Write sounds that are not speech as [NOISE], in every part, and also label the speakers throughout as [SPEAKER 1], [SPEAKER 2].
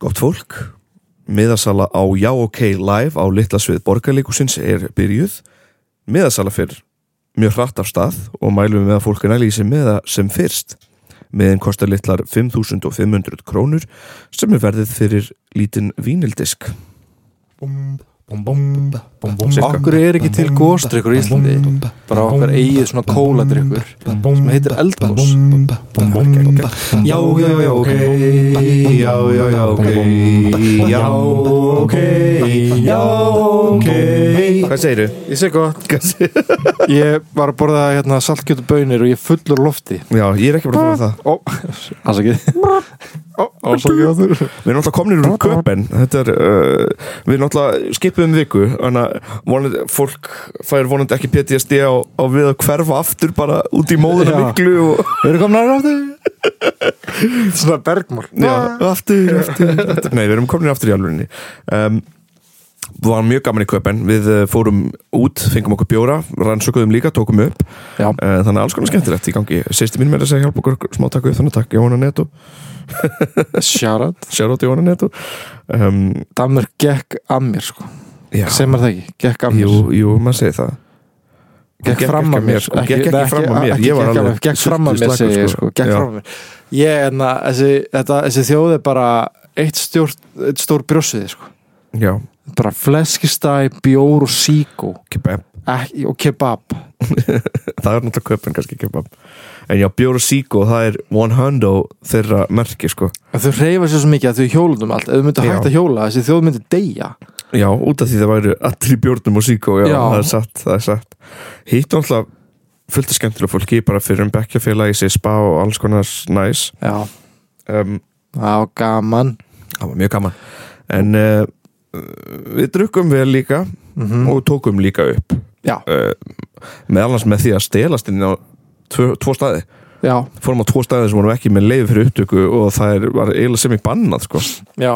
[SPEAKER 1] Gott fólk, miðasala á Já OK Live á litla svið borgarleikusins er byrjuð. Miðasala fyrr mjög hratt af stað og mælum við að fólk er nælísi miða sem fyrst. Miðin kostar litlar 5.500 krónur sem er verðið fyrir lítinn vínildisk. Cirka.
[SPEAKER 2] Okkur er ekki til góstrykkur í Íslandi Bara okkar eigið svona kóladrykkur Sem heitir eldgós
[SPEAKER 1] Já, já, já, ok, já, já, já, ok, já, ok, já, ok. Hvað segiru?
[SPEAKER 2] Ég segi gott Ég var að borða hérna, saltkjötu bönir og ég er fullur lofti
[SPEAKER 1] Já, ég er ekki bara að fara um það.
[SPEAKER 2] Ó, afsakið Ó, afsakið á þurr
[SPEAKER 1] Við erum alltaf komnir úr köpen Þetta er, uh, við erum alltaf skipið um viku Þannig að vonandi, fólk fær vonandi ekki PTSD á, á við að hverfa aftur bara út í móðuna
[SPEAKER 2] Já.
[SPEAKER 1] miklu og
[SPEAKER 2] Við erum komin aðra aftur [LAUGHS] Svona bergmál
[SPEAKER 1] já, aftur, aftur, aftur Nei, við erum komnir aftur í alvörinni um, Var mjög gaman í köpen Við uh, fórum út, fengum okkur bjóra rannsökuðum líka, tókum upp
[SPEAKER 2] Já.
[SPEAKER 1] uh, Þannig að alls konar skemmtilegt í gangi Sýsti mín með þess að segja hjálpa okkur smá takku Þannig takk, Jóhanna Neto
[SPEAKER 2] Sjárat
[SPEAKER 1] Sjárótt Jóhanna Neto um,
[SPEAKER 2] Damur gekk að mér sko
[SPEAKER 1] Já,
[SPEAKER 2] Sem er það ekki, gekk að mér
[SPEAKER 1] jú, jú, maður segir það
[SPEAKER 2] Gekk fram að mér
[SPEAKER 1] sko, gekk ekki
[SPEAKER 2] nei,
[SPEAKER 1] fram að mér,
[SPEAKER 2] ekki
[SPEAKER 1] ég var
[SPEAKER 2] gekk að
[SPEAKER 1] alveg
[SPEAKER 2] mér, Gekk fram að mér
[SPEAKER 1] sultuslakur,
[SPEAKER 2] segi ég
[SPEAKER 1] sko.
[SPEAKER 2] sko Gekk
[SPEAKER 1] Já.
[SPEAKER 2] fram að mér Ég, en að þessi, þetta- þessi þjóð er bara Eitt stjór, eitt stór brjósiði sko
[SPEAKER 1] Já,
[SPEAKER 2] Bara fleskistæ, bjór og síkó
[SPEAKER 1] kebab
[SPEAKER 2] Ekki- Og kebab
[SPEAKER 1] Það er náttúrulega köpun kannski kebab En já, Bjóra Síko, það er One Hundo þeirra merki, sko
[SPEAKER 2] En Þau reyfa sér svo mikið að þau hjólum allt Ef þau myndu
[SPEAKER 1] Já.
[SPEAKER 2] hægt að hjóla, þessi þjóð myndi deyja
[SPEAKER 1] Já, út af því það væri allir í bjórnum og Síko Já,
[SPEAKER 2] Já.
[SPEAKER 1] það er satt, það er satt Hitt náttúrulega fullt af skemmtilega fólki bara fyrir um bekkjafélagi, sér spa og alls konar næs
[SPEAKER 2] Já,
[SPEAKER 1] um,
[SPEAKER 2] á gaman
[SPEAKER 1] Það var mjög gaman En uh, við drukkum vel líka
[SPEAKER 2] Mhm.
[SPEAKER 1] og tókum líka upp
[SPEAKER 2] Já,
[SPEAKER 1] uh, meðal hans með því að stelast inn á tvo, tvo staði
[SPEAKER 2] já,
[SPEAKER 1] fórum á tvo staði sem vorum ekki með leiði fyrir upptöku og það er, var eiginlega sem í bannað sko.
[SPEAKER 2] já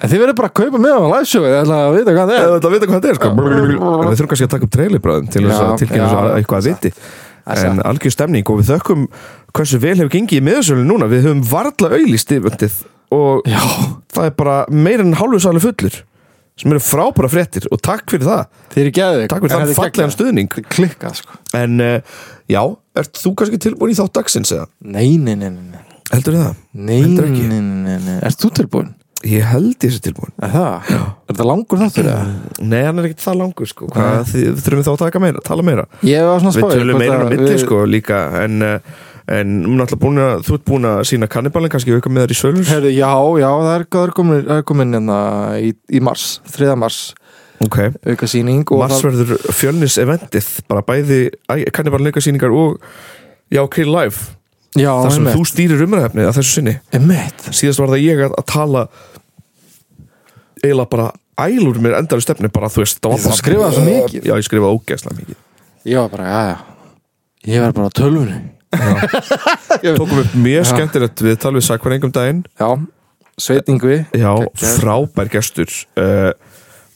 [SPEAKER 2] En þið verður bara að kaupa með á læsjóðu Ég ætla að vita hvað það er
[SPEAKER 1] eða þetta vita hvað þetta er sko. En við þurfum kannski að taka upp treylibraðum til þess
[SPEAKER 2] Já,
[SPEAKER 1] að tilkynna
[SPEAKER 2] já,
[SPEAKER 1] þess að eitthvað að viti
[SPEAKER 2] Það er
[SPEAKER 1] en algjör stemning og við þökkum hversu vel hefur gengið í miðursölu núna við höfum varla auðlýst yfirvöndið og
[SPEAKER 2] Já,
[SPEAKER 1] það er bara meira en hálfu sálu fullur sem eru frábæra fréttir og takk fyrir það
[SPEAKER 2] þið eru gæðið
[SPEAKER 1] takk fyrir þann fallegan stuðning
[SPEAKER 2] Klikkað sko
[SPEAKER 1] en uh, já, ert þú kannski tilbúin í þátt dagsins eða?
[SPEAKER 2] Nei, nei, nei, nei, nei
[SPEAKER 1] Heldur það?
[SPEAKER 2] Nei,
[SPEAKER 1] Heldur
[SPEAKER 2] nei,
[SPEAKER 1] ekki?
[SPEAKER 2] nei, nei, nei Erst þú tilbúin?
[SPEAKER 1] Ég held ég sé tilbúin
[SPEAKER 2] Er það? Já Er það langur þáttur eða?
[SPEAKER 1] Nei, hann er ekkert það langur sko Hvað, þið, við þurfum þá að taka meira, tala meira
[SPEAKER 2] Ég var svona
[SPEAKER 1] Við
[SPEAKER 2] spáðið
[SPEAKER 1] tölum meira en á milli sko líka En, eh, en um náttúrulega búin að Þú ert búin að sína kannibalin kannski auka með þær í sölur
[SPEAKER 2] Herðu, já, já, það er, það er komin, það er komin hérna í, í mars, 3. mars
[SPEAKER 1] Ok,
[SPEAKER 2] auka síning og
[SPEAKER 1] mars
[SPEAKER 2] það,
[SPEAKER 1] verður fjölnis eventið Bara bæði kannibalin leikasýningar og Já, ok, live
[SPEAKER 2] já,
[SPEAKER 1] Þar sem
[SPEAKER 2] einmitt,
[SPEAKER 1] þú stýrir umræðefnið að þessu sinni
[SPEAKER 2] einmitt
[SPEAKER 1] Síðast var það ég að, að tala Eila bara ælur mér endalu stefni bara þú veist það var
[SPEAKER 2] Þú
[SPEAKER 1] bara-
[SPEAKER 2] skrifaðir svo mikið.
[SPEAKER 1] Já, ég skrifaði ógeðslega mikið
[SPEAKER 2] Ég var bara, já, já Ég var bara á tölvunni
[SPEAKER 1] Tókum upp mjög
[SPEAKER 2] Já.
[SPEAKER 1] skemmtilegt við talvið sakvarengum daginn
[SPEAKER 2] Já, sveitingvi
[SPEAKER 1] Já,
[SPEAKER 2] Geggjaður.
[SPEAKER 1] frábær gestur uh,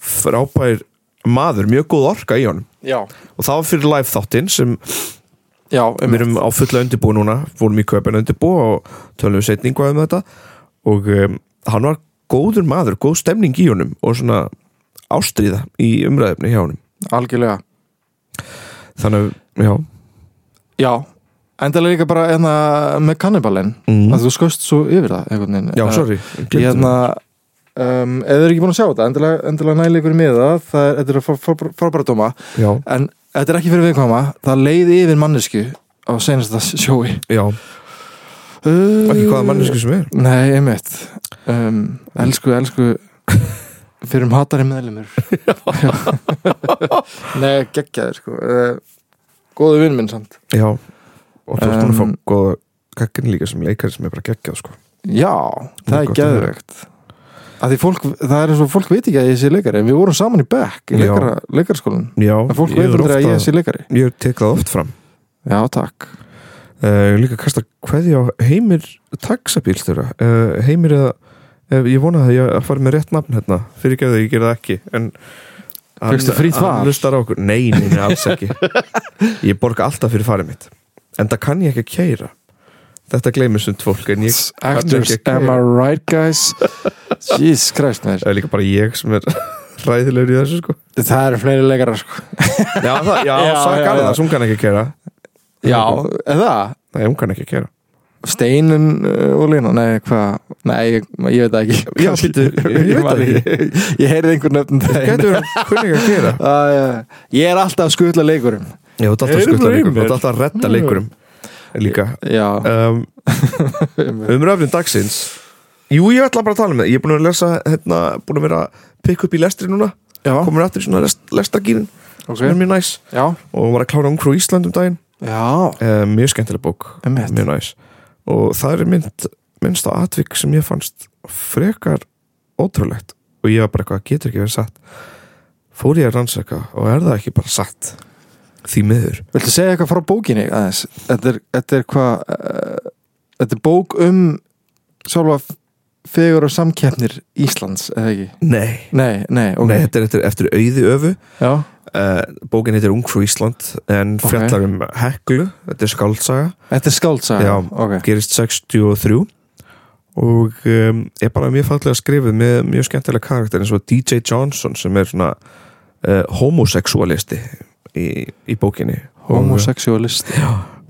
[SPEAKER 1] Frábær maður, mjög góð orka í honum
[SPEAKER 2] Já,
[SPEAKER 1] Og það var fyrir live þáttinn sem
[SPEAKER 2] já,
[SPEAKER 1] við
[SPEAKER 2] einmitt
[SPEAKER 1] erum á fulla undirbúi núna Fórum í köpun undirbúi og tölum við setningu um þetta Og um, hann var góður maður, góð stemning í honum Og svona ástríða í umræðefni hjá honum
[SPEAKER 2] Algjörlega
[SPEAKER 1] Þannig, að, já,
[SPEAKER 2] Já, endalega líka bara hérna, með kannibalinn
[SPEAKER 1] Mhm.
[SPEAKER 2] að þú skoðst svo yfir það einhvern veginn
[SPEAKER 1] já,
[SPEAKER 2] Eh,
[SPEAKER 1] sorry
[SPEAKER 2] Ég
[SPEAKER 1] gleymdi
[SPEAKER 2] hérna um, ef þið eru ekki búin að sjá þetta, endilega, endilega næli ykkur með það, það er, þetta er frábæra far, far, farbara dóma,
[SPEAKER 1] því. Já,
[SPEAKER 2] en þetta er ekki fyrir viðkvæma það leiði yfir mannesku á senasta sjói
[SPEAKER 1] já, ekki hvaða mannesku sem er
[SPEAKER 2] Nei, einmitt um, Elsku, elsku fyrir um hatari meðlumur [LAUGHS] Nei, geggjaður sko uh, Góðu vinn minn samt
[SPEAKER 1] Já, og þú ert búin að fá
[SPEAKER 2] Um,
[SPEAKER 1] góða kakkin líka sem leikari sem er bara geggjað sko
[SPEAKER 2] Já, það er
[SPEAKER 1] gott að
[SPEAKER 2] geðvegt að því fólk, það er eins og fólk veit ekki að ég sé leikari en við vorum saman í bekk í
[SPEAKER 1] Já.
[SPEAKER 2] leikara, leikarskólan
[SPEAKER 1] Já,
[SPEAKER 2] en fólk
[SPEAKER 1] ég
[SPEAKER 2] veit
[SPEAKER 1] er
[SPEAKER 2] aldrei að
[SPEAKER 1] oft
[SPEAKER 2] ég sé leikari
[SPEAKER 1] Ég tek það oft fram
[SPEAKER 2] Já, takk
[SPEAKER 1] Uh, líka kasta hverði á Heimir taxabílstjóra uh, Heimir eða uh, ég vona að ég fari með rétt nafn hérna fyrir ekki að ég gera það ekki en hann-
[SPEAKER 2] Fékkstu frítt far?
[SPEAKER 1] hann lustar á okkur nei, nei, nei, alls [LAUGHS] ekki ég borga alltaf fyrir farið mitt en það kann ég ekki að keira þetta gleymir sumt fólk en ég kann
[SPEAKER 2] Actors,
[SPEAKER 1] ekki að
[SPEAKER 2] am I
[SPEAKER 1] keira [LAUGHS]
[SPEAKER 2] right guys? Jesus Christ maður.
[SPEAKER 1] Það er líka bara ég sem er [LAUGHS] ræðilegur í þessu sko
[SPEAKER 2] það eru fleiri leikara sko.
[SPEAKER 1] Já, það, já,
[SPEAKER 2] Já,
[SPEAKER 1] sakar
[SPEAKER 2] já, já.
[SPEAKER 1] það, sem hún kann ekki að gera
[SPEAKER 2] já, eða
[SPEAKER 1] Nei, hún kann ekki að gera
[SPEAKER 2] steinun uh, og lína nei, hvað, nei, ég, ég veit það ekki
[SPEAKER 1] [LAUGHS] Já, býttu, ég
[SPEAKER 2] ég,
[SPEAKER 1] veit það
[SPEAKER 2] ég, ég, ég heyrði einhver nöfn um daginn.
[SPEAKER 1] Gætu verið kunni ekki að gera
[SPEAKER 2] Uh, ég er alltaf að skutla leikurum
[SPEAKER 1] Já, þú ert alltaf að
[SPEAKER 3] Heyrðu
[SPEAKER 1] skutta
[SPEAKER 3] í
[SPEAKER 1] leikurum,
[SPEAKER 3] mér.
[SPEAKER 1] þú ert alltaf að redda leikurum Líka
[SPEAKER 2] já,
[SPEAKER 1] um, Umröfnum dagsins Jú, ég ætla bara að tala um það Ég er búin að lesa, hérna, búin að vera að pikka upp í lestri núna
[SPEAKER 2] já,
[SPEAKER 1] Komin aftur í svona lest, lestargírin
[SPEAKER 2] ok
[SPEAKER 1] sem er mjög næs
[SPEAKER 2] já,
[SPEAKER 1] og hún var að klára Ungrú Ísland um daginn
[SPEAKER 2] já,
[SPEAKER 1] um, Mjög skemmtileg bók,
[SPEAKER 2] Einmitt.
[SPEAKER 1] mjög næs og það er mynd, minnst á atvik sem ég fannst frekar ótrúlegt og ég var bara eitthvað, getur ekki verið satt Fór ég að rannsaka og er það ekki bara satt því miður
[SPEAKER 2] viltu segja eitthvað frá bókinni aðeins, þetta er, þetta er hvað uh, þetta er bók um sjálfa fegur og samkeppnir Íslands, eða ekki
[SPEAKER 1] Nei,
[SPEAKER 2] nei, nei, ok,
[SPEAKER 1] Nei þetta er eftir, eftir auði öfu
[SPEAKER 2] já,
[SPEAKER 1] uh, Bókin heitir Ungrú Ísland en
[SPEAKER 2] Ok.
[SPEAKER 1] fjallar um Heklu þetta er skaldsaga
[SPEAKER 2] þetta er skáldsaga
[SPEAKER 1] Já.
[SPEAKER 2] ok,
[SPEAKER 1] gerist 63 og um, er bara mjög fallega skrifið með mjög skemmtilega karakter eins og DJ Johnson sem er svona uh, homosexualisti í, í bókinni
[SPEAKER 2] homosexualist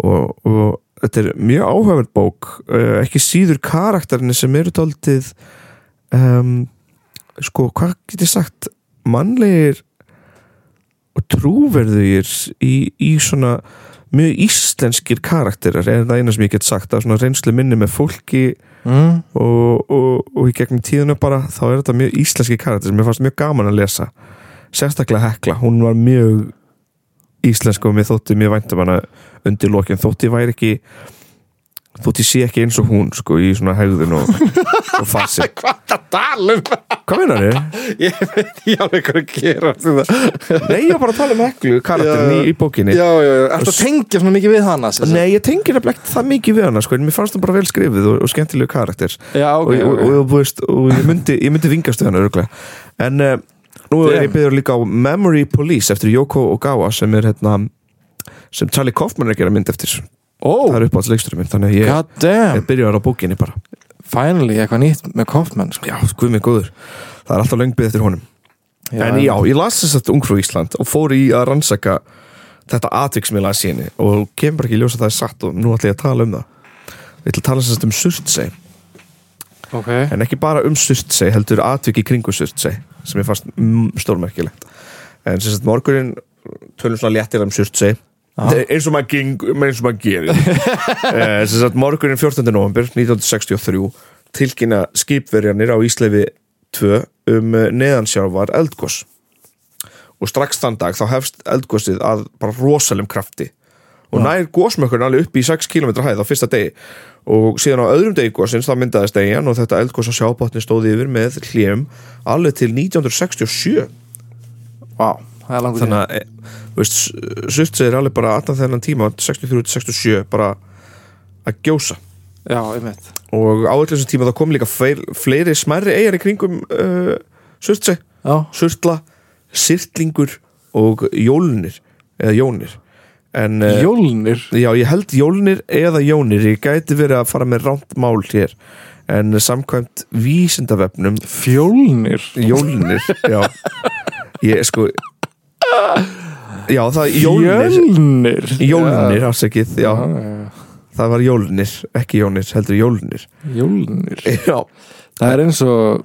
[SPEAKER 1] og, og þetta er mjög áhæfverð bók uh, ekki síður karakterinu sem eru tóltið um, sko, hvað get ég sagt mannlegir og trúverðugir í, í svona mjög íslenskir karakterar er það eina sem ég get sagt að svona reynslu minni með fólki
[SPEAKER 2] mm,
[SPEAKER 1] og, og, og í gegnum tíðuna bara þá er þetta mjög íslenski karakter sem ég fannst mjög gaman að lesa sérstaklega Hekla, hún var mjög íslensk og mér þótti mjög væntum hana undir lokin, þótti ég væri ekki þótti ég sé ekki eins og hún sko í svona hegðun og, og
[SPEAKER 2] [LAUGHS]
[SPEAKER 1] fasi
[SPEAKER 2] hvað það
[SPEAKER 1] um?
[SPEAKER 2] talum
[SPEAKER 1] hvað meinar þið?
[SPEAKER 2] ég veit [LAUGHS] ekki alveg hvað að gera
[SPEAKER 1] Nei, ég var bara að tala um Heklu karakterin
[SPEAKER 2] Já.
[SPEAKER 1] í, í bókinni
[SPEAKER 2] já, já, já, ertu að tengja svona mikið við hana sem sagt?
[SPEAKER 1] Nei, ég tengi nefnilega ekki það mikið við hana sko, en mér fannst hún bara vel skrifið og, og skemmtilegu karakter
[SPEAKER 2] já,
[SPEAKER 1] og,
[SPEAKER 2] ok,
[SPEAKER 1] og,
[SPEAKER 2] ok.
[SPEAKER 1] og, og, veist, og ég myndi, ég myndi vingast við hana örgulega en uh, nú er ég
[SPEAKER 2] Damn.
[SPEAKER 1] byggður líka á Memory Police eftir Yoko Ogawa sem er hérna sem Charlie Kaufman er að gera mynd eftir
[SPEAKER 2] Ó,
[SPEAKER 1] það er uppáhalds leiksturinn minn þannig að ég,
[SPEAKER 2] god damn
[SPEAKER 1] ég byrjar á bókinni bara
[SPEAKER 2] finally eitthvað nýtt með Kaufmann sko.
[SPEAKER 1] já, guð mig góður, það er alltaf löngbyð eftir honum en já, ég las þess að Ungfrú Ísland og fór í að rannsaka þetta atvik sem ég las í henni og kemur bara ekki í ljós að það er satt og nú ætla ég að tala um það ég ætla að tala sérst um Surtsey
[SPEAKER 2] ok,
[SPEAKER 1] en ekki bara um Surtsey, heldur atvik í kringu Surtsey sem ég fannst mm, stórmerkilegt en sem sagt morgunin tölum svona léttir um Surtsey Þetta er eins og maður, geng, eins og maður gerir eh, sem sagt morgunin 14. november 1963 tilkynna skipverjanir á Ísleifi 2 um eh, neðansjárvar eldgós og strax þann dag þá hefst eldgósið að bara rosalum krafti og nær gósmökkun alveg upp í 6 km hæð á fyrsta degi og síðan á öðrum degi gósins þá myndaðist eigin og þetta eldgós á sjábotni stóði yfir með hljum alveg til 1967
[SPEAKER 2] wow, það er langur
[SPEAKER 1] þannig að e, þú veist, Surtsey er alveg bara allan þennan tíma 63-67 bara að gjósa
[SPEAKER 2] tími. já, einmitt
[SPEAKER 1] og á öllum þessum tíma þá kom líka fleiri, fleiri smærri eigin í kringum uh, Surtsey
[SPEAKER 2] já,
[SPEAKER 1] surtla, sirtlingur og jólnir eða jónir en, eh,
[SPEAKER 2] Jólnir
[SPEAKER 1] já, ég held jólnir eða jónir ég gæti verið að fara með rámt mál hér en samkvæmt vísindavefnum
[SPEAKER 2] fjólnir
[SPEAKER 1] [LAUGHS] jólnir já, ég sko já, það jólnir
[SPEAKER 2] fjólnir
[SPEAKER 1] jólnir, afsakið, já,
[SPEAKER 2] Ah, Já,
[SPEAKER 1] það var jólnir ekki jónir, heldur jólnir
[SPEAKER 2] já, jólnir
[SPEAKER 1] já,
[SPEAKER 2] það er eins og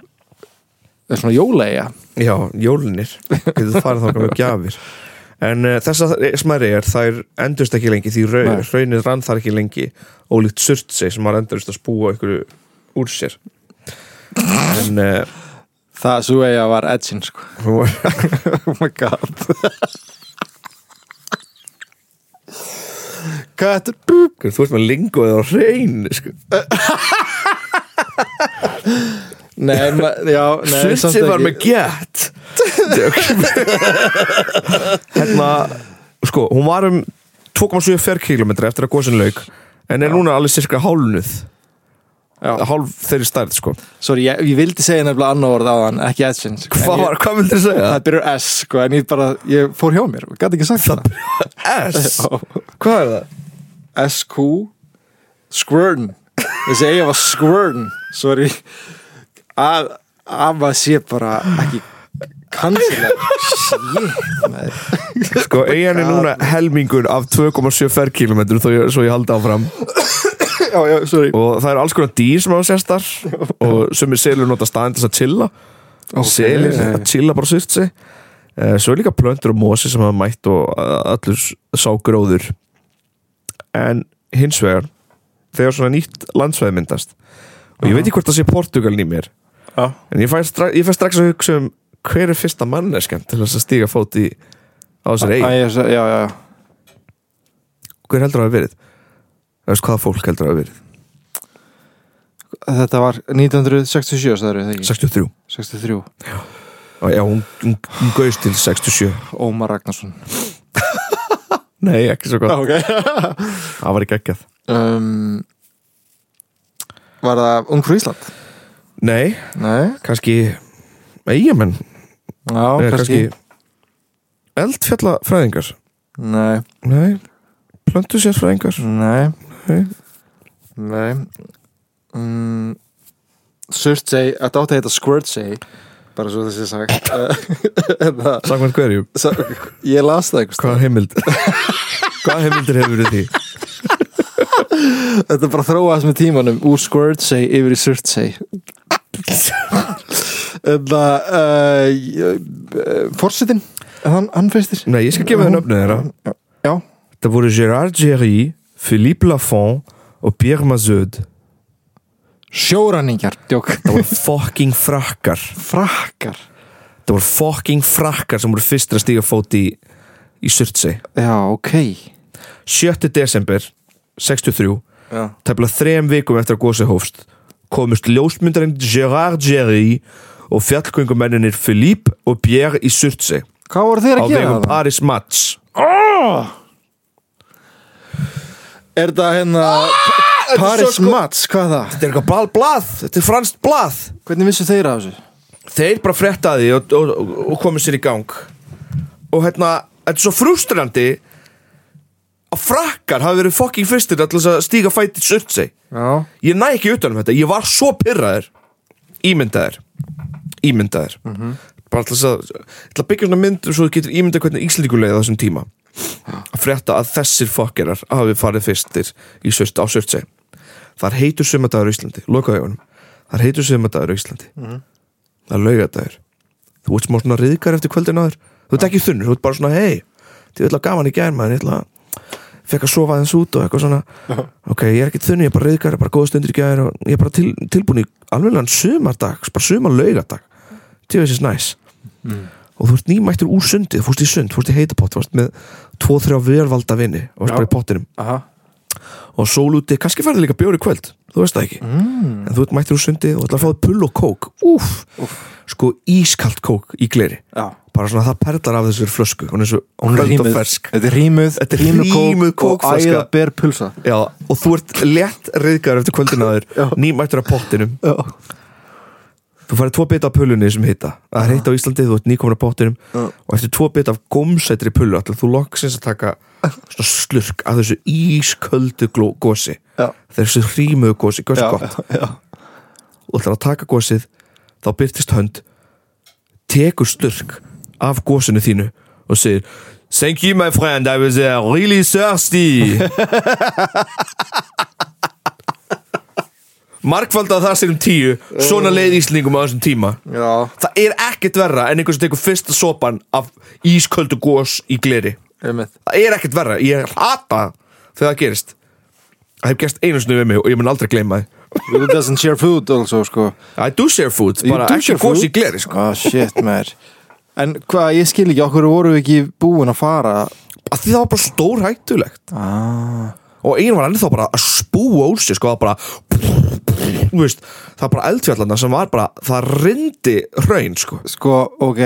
[SPEAKER 2] það er svona jólæja
[SPEAKER 1] Já, jólinir Getur farið þá
[SPEAKER 2] [LAUGHS]
[SPEAKER 1] með gjafir En uh, þessar smæri er, þær endurst ekki lengi því raun,
[SPEAKER 2] Nei.
[SPEAKER 1] raunin rann þar ekki lengi ólíkt surtsei sem var endurst að spúa ykkur úr sér En uh,
[SPEAKER 2] það svo eiga var edgin sko
[SPEAKER 1] hún var, [LAUGHS]
[SPEAKER 2] oh my god Cut.
[SPEAKER 1] þú ert með lingu eða hrein sko.
[SPEAKER 2] Nei, ma- já, nei, samt
[SPEAKER 1] Surtsei var
[SPEAKER 2] ekki.
[SPEAKER 1] með gett Hérna sko, hún var um 2,7 ferkilometri eftir að góðsinn lauk en er núna alveg cirka hálnuð
[SPEAKER 2] Já.
[SPEAKER 1] hálf þeirri stærð sko
[SPEAKER 2] Sorry, ég, ég vildi segja nefnilega annar orð á hann, ekki Edgins
[SPEAKER 1] Hvað, var, hvað vildur þú segja?
[SPEAKER 2] Það byrjar S, sko, en ég bara, ég fór hjá mér og gæti ekki sagt það
[SPEAKER 1] S?
[SPEAKER 2] Já.
[SPEAKER 1] Hvað er það?
[SPEAKER 2] SQ Squirn Þessi eiga var Squirn Sorry A af að sé bara ekki kansilega shit maður.
[SPEAKER 1] Sko, eigin er núna helmingun af 2,7 ferkilometrum þó ég, svo ég haldi áfram
[SPEAKER 2] já, já, sorry
[SPEAKER 1] og það eru alls konar dýr sem hafa sést þar
[SPEAKER 2] [LAUGHS]
[SPEAKER 1] og sumir selur nota staðin til þess að chilla
[SPEAKER 2] Ok.
[SPEAKER 1] selir að chilla bara sýrt sig Eh, svo er líka plöntur og mosi sem hafa mætt og eh, allur s- sá gróður en hins vegar þegar svona nýtt landsvæði myndast og ég veit ekki hvort það sé Portugalin í mér
[SPEAKER 2] Já.
[SPEAKER 1] en ég fæ, stra ég fæ strax að hugsa um hver er fyrsta manneskjan til þess að stíga fót í á þessari
[SPEAKER 2] Æ,
[SPEAKER 1] eigi
[SPEAKER 2] ég sa- já, já, já.
[SPEAKER 1] hver heldur það að hafa verið það veist hvaða fólk heldur það að hafa verið
[SPEAKER 2] þetta var 1967 sagðirðu, það eru
[SPEAKER 1] 63,
[SPEAKER 2] 63
[SPEAKER 1] Á, já hún, hún, hún gauðst til 67
[SPEAKER 2] Ómar Ragnarsson
[SPEAKER 1] nei ekki svo gott,
[SPEAKER 2] okay.
[SPEAKER 1] það var ekki ekki að
[SPEAKER 2] [LAUGHS] um, var það Ungfrú Ísland?
[SPEAKER 1] nei,
[SPEAKER 2] nei,
[SPEAKER 1] kannski eigamenn,
[SPEAKER 2] já,
[SPEAKER 1] Eða
[SPEAKER 2] kannski,
[SPEAKER 1] kannski eldfjallafræðingar
[SPEAKER 2] nei,
[SPEAKER 1] nei, plöntu sérfræðingar
[SPEAKER 2] nei
[SPEAKER 1] Nei.
[SPEAKER 2] nei mm, Surtsey, þetta átti að heita Squirtsey bara svo þessi sagt [LAUGHS] En það-
[SPEAKER 1] samkvæmt hverju,
[SPEAKER 2] sa- ég las það einhvers staðar.
[SPEAKER 1] hvaða [LAUGHS] heimild hvaða heimildir hefur verið því
[SPEAKER 2] þetta bara þróast með tímanum úr Squirtsey yfir í Surtsey en það uh, uh, forsetin hann, hann freistir
[SPEAKER 1] nei, ég skal gefa þér nöfnu þeirra
[SPEAKER 2] já,
[SPEAKER 1] það voru Gérard Géry Philippe Lafont og Pierre Mazeud
[SPEAKER 2] sjóranningar djók,
[SPEAKER 1] [LAUGHS] það voru fucking frakkar
[SPEAKER 2] frakkar
[SPEAKER 1] það voru fucking frakkar sem voru fyrstir að stíga fót í í Surtsey
[SPEAKER 2] já, ok
[SPEAKER 1] 7. desember 63
[SPEAKER 2] já.
[SPEAKER 1] tæpla þrem vikum eftir að gósi hófst komust ljósmyndarinn Gerard Gerry og fjallgöngumenninir Philippe og Pierre í Surtsey
[SPEAKER 2] hvað voru þeir
[SPEAKER 1] á
[SPEAKER 2] að gera
[SPEAKER 1] vegum
[SPEAKER 2] það?
[SPEAKER 1] Paris Match
[SPEAKER 2] er það hérna Paris Mats, hvað er það?
[SPEAKER 1] Þetta er eitthvað blað, blað, þetta er franskt blað
[SPEAKER 2] hvernig vissu þeir af þessu?
[SPEAKER 1] Þeir bara frettaði og, og, og, og komið sér í gang og hérna, þetta er svo frustrandi að frakkar hafi verið fucking fyrstir til þess að stíga fæti í Surtsey
[SPEAKER 2] já,
[SPEAKER 1] ég næ ekki utanum þetta, ég var svo pyrraður ímyndaður ímyndaður bara til þess að, til að byggja svona mynd svo þú getur ímyndað hvernig Íslendingur leiði á þessum tíma að frétta að þessir fokkerar hafi farið fyrstir í sört, á Sörtseg þar heitur sömadagur á Íslandi, lokaðu augunum þar heitur sömadagur á Íslandi það er laugadagur þú ert smá svona riðgar eftir kvöldin áður þú ert ekki þunnur, þú ert bara svona hei þið ætla gaman í gæn maður, ég ætla að fekk að sofa aðeins út og eitthvað svona ok, ég er ekki þunni, ég er bara reyðgar, bara góða stundir í gæðir og ég er bara til, tilbúin í alveglegan sumardag, bara sumarlaugardag til þessi næs
[SPEAKER 2] Mm.
[SPEAKER 1] og þú ert nýmættur úr sundi, þú fórst í sund þú fórst í heitapott, þú varst með tvo, þrjá velvalda vini og varst
[SPEAKER 2] Já.
[SPEAKER 1] bara í pottinum
[SPEAKER 2] aha
[SPEAKER 1] og sól úti, kannski færði líka bjóri kvöld þú veist það ekki,
[SPEAKER 2] mm.
[SPEAKER 1] en þú ert mættur úr sundi og þú ætlar að fá þér pull og kók, úf sko ískalt kók í gleri
[SPEAKER 2] já
[SPEAKER 1] bara svona það perlar af þessir flösku hún er svo
[SPEAKER 2] Hún er
[SPEAKER 1] köld og
[SPEAKER 2] rýmuð,
[SPEAKER 1] fersk
[SPEAKER 2] þetta er rýmuð,
[SPEAKER 1] Þetta er
[SPEAKER 2] rýmuð
[SPEAKER 1] rýmuð
[SPEAKER 2] og
[SPEAKER 1] kókflaska.
[SPEAKER 2] æða ber pulsa
[SPEAKER 1] Já, og þú ert létt reyðgar eftir kvöldinu
[SPEAKER 2] Já.
[SPEAKER 1] aður nýmættur af pottinum
[SPEAKER 2] Já.
[SPEAKER 1] þú færði tvo bita af pulunni sem hitta það er hitt á Íslandi, þú ert nýkomin af pottinum
[SPEAKER 2] Já.
[SPEAKER 1] og eftir tvo bita af gómsætri pullu ætlar þú loksins að taka svona slurk af þessu ísköldu gló- gosi
[SPEAKER 2] Já.
[SPEAKER 1] þessu hrímuðu gosi, gosi
[SPEAKER 2] Já,
[SPEAKER 1] gott
[SPEAKER 2] já,
[SPEAKER 1] og ætlar að taka gosið þá byrtist hönd tekur slurk af gosinu þínu og segir Thank you my friend, I was uh, really thirsty [LAUGHS] Markvalda það sér um tíu Svona leið Íslendingum á þessum tíma
[SPEAKER 2] já,
[SPEAKER 1] Það er ekkert verra en einhver sem tekur fyrsta sopan af ísköldu gos í gleri
[SPEAKER 2] einmitt
[SPEAKER 1] Það er ekkert verra, ég hata þegar það gerist Það hef gerst einu sinni við mig og ég mun aldrei gleyma því
[SPEAKER 2] Who doesn't share food also, sko
[SPEAKER 1] I do share food,
[SPEAKER 2] You
[SPEAKER 1] bara
[SPEAKER 2] do
[SPEAKER 1] ekki
[SPEAKER 2] share
[SPEAKER 1] gos í
[SPEAKER 2] food?
[SPEAKER 1] gleri sko.
[SPEAKER 2] Ah, shit, maður En hvað, ég skil ekki, okkur voru við ekki búin að fara
[SPEAKER 1] að því það var bara stór hættulegt
[SPEAKER 2] ah.
[SPEAKER 1] og einu var ennþá bara að spúa úr sér sko, það bara þú veist, það var bara eldfjallarna sem var bara það rindi hraun sko.
[SPEAKER 2] Sko, ok,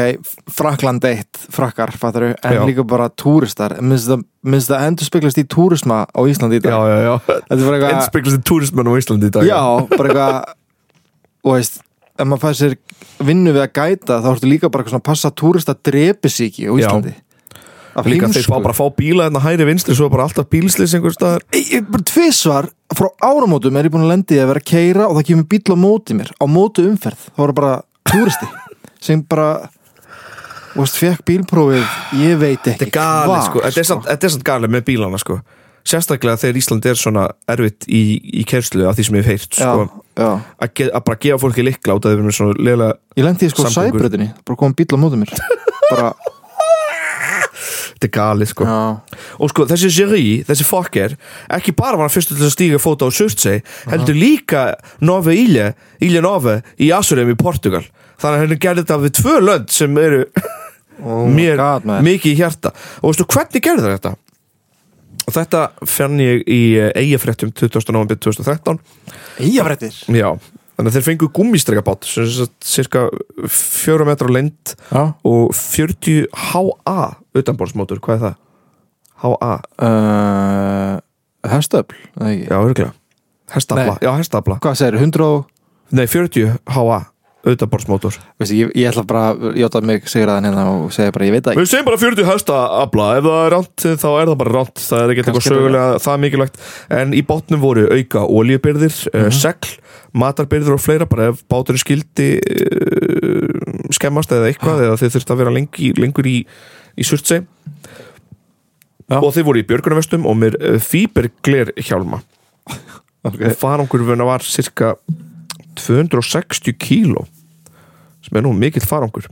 [SPEAKER 2] Frakland eitt Frakkar, fattaru, en
[SPEAKER 1] Já.
[SPEAKER 2] líka bara túristar Minnst það, minnst það endur speglast í túrisma á Íslandi í dag
[SPEAKER 1] já, já
[SPEAKER 2] Þetta er bara eitthvað
[SPEAKER 1] Endspeglast í túrismenn á Íslandi í dag
[SPEAKER 2] Já, bara eitthvað og veist, ef maður fær sér vinnu við að gæta, þá ertu líka bara eitthvað svona að passa að túrista drepisíki á
[SPEAKER 1] Já.
[SPEAKER 2] Íslandi Af
[SPEAKER 1] líka þeir fá
[SPEAKER 2] heimsku.
[SPEAKER 1] bara að fá bíla en að hæri vinstri svo er bara alltaf bílslis einhver staðar
[SPEAKER 2] Ég- ég- bara Tvisvar frá áramótum er ég búin að lendi að vera að keira og það kemur bíl á móti mér á móti umferð, þá er það bara túristi
[SPEAKER 1] [LAUGHS]
[SPEAKER 2] sem bara þú veist, fekk bílprófið ég veit ekki
[SPEAKER 1] Þetta er galið
[SPEAKER 2] hvað,
[SPEAKER 1] sko, þetta er samt- þetta er samt galið með bílana sko Sérstaklega þegar Ísland er svona erfitt í, í kerslu af því sem ég hef heyrt
[SPEAKER 2] já,
[SPEAKER 1] sko,
[SPEAKER 2] já.
[SPEAKER 1] að, ge, að bara gefa fólki likla út að við erum svona leila
[SPEAKER 2] ég lendi í sko
[SPEAKER 1] Samgöngur.
[SPEAKER 2] sæbröðinni bara kom bíl á mótu
[SPEAKER 1] [LAUGHS]
[SPEAKER 2] mér bara,
[SPEAKER 1] Þetta er galið sko
[SPEAKER 2] já,
[SPEAKER 1] Og sko þessi Jerry, þessi fokker ekki bara var hann fyrstu til að stíga fóta á Surtsey heldur líka Nove Ilje Ilje Nove í Asurum í Portugal Þannig að henni gerði þetta við tvö lönd sem eru
[SPEAKER 2] [LAUGHS] oh my
[SPEAKER 1] mér
[SPEAKER 2] God, maður.
[SPEAKER 1] mikið í hjarta og veistu hvernig gerði það þetta og þetta fann ég í eh, eigafréttum 20. november 2013
[SPEAKER 2] Eyjafréttir.
[SPEAKER 1] já, þannig að þeir fengu gummistrekabát sem er sem sagt cirka 4 metra lengd
[SPEAKER 2] já,
[SPEAKER 1] og 40 HA utanborðsmótur, hvað er það? HA,
[SPEAKER 2] uh, höstöfl eða ekki?
[SPEAKER 1] já, örgulega hestafla,
[SPEAKER 2] Nei.
[SPEAKER 1] já, hestafla
[SPEAKER 2] hvað segir, 100 og
[SPEAKER 1] nei, 40 HA utanborðsmótur
[SPEAKER 2] Veistu, ég, ég ætla bara að jóta mig sigraðan hérna og segja bara, ég veit það ekki
[SPEAKER 1] Við segjum bara 40 hestafla, ef það er ránt þá er það bara ránt, það er ekki eitthvað
[SPEAKER 2] Kannski
[SPEAKER 1] sögulega það mikilvægt, en í bátnum voru auka oljubyrðir, mm segl matarbyrðir og fleira, bara ef báturinn skildi uh, skemmast eða eitthvað, eða þeir þurfti að vera lengi, lengur í, í surtsei
[SPEAKER 2] Já.
[SPEAKER 1] og þeir voru í björgunarvestum og mér uh, fýbergler hjálma okay. og farangurvuna var cirka 260 kíló sem er nú mikill farangur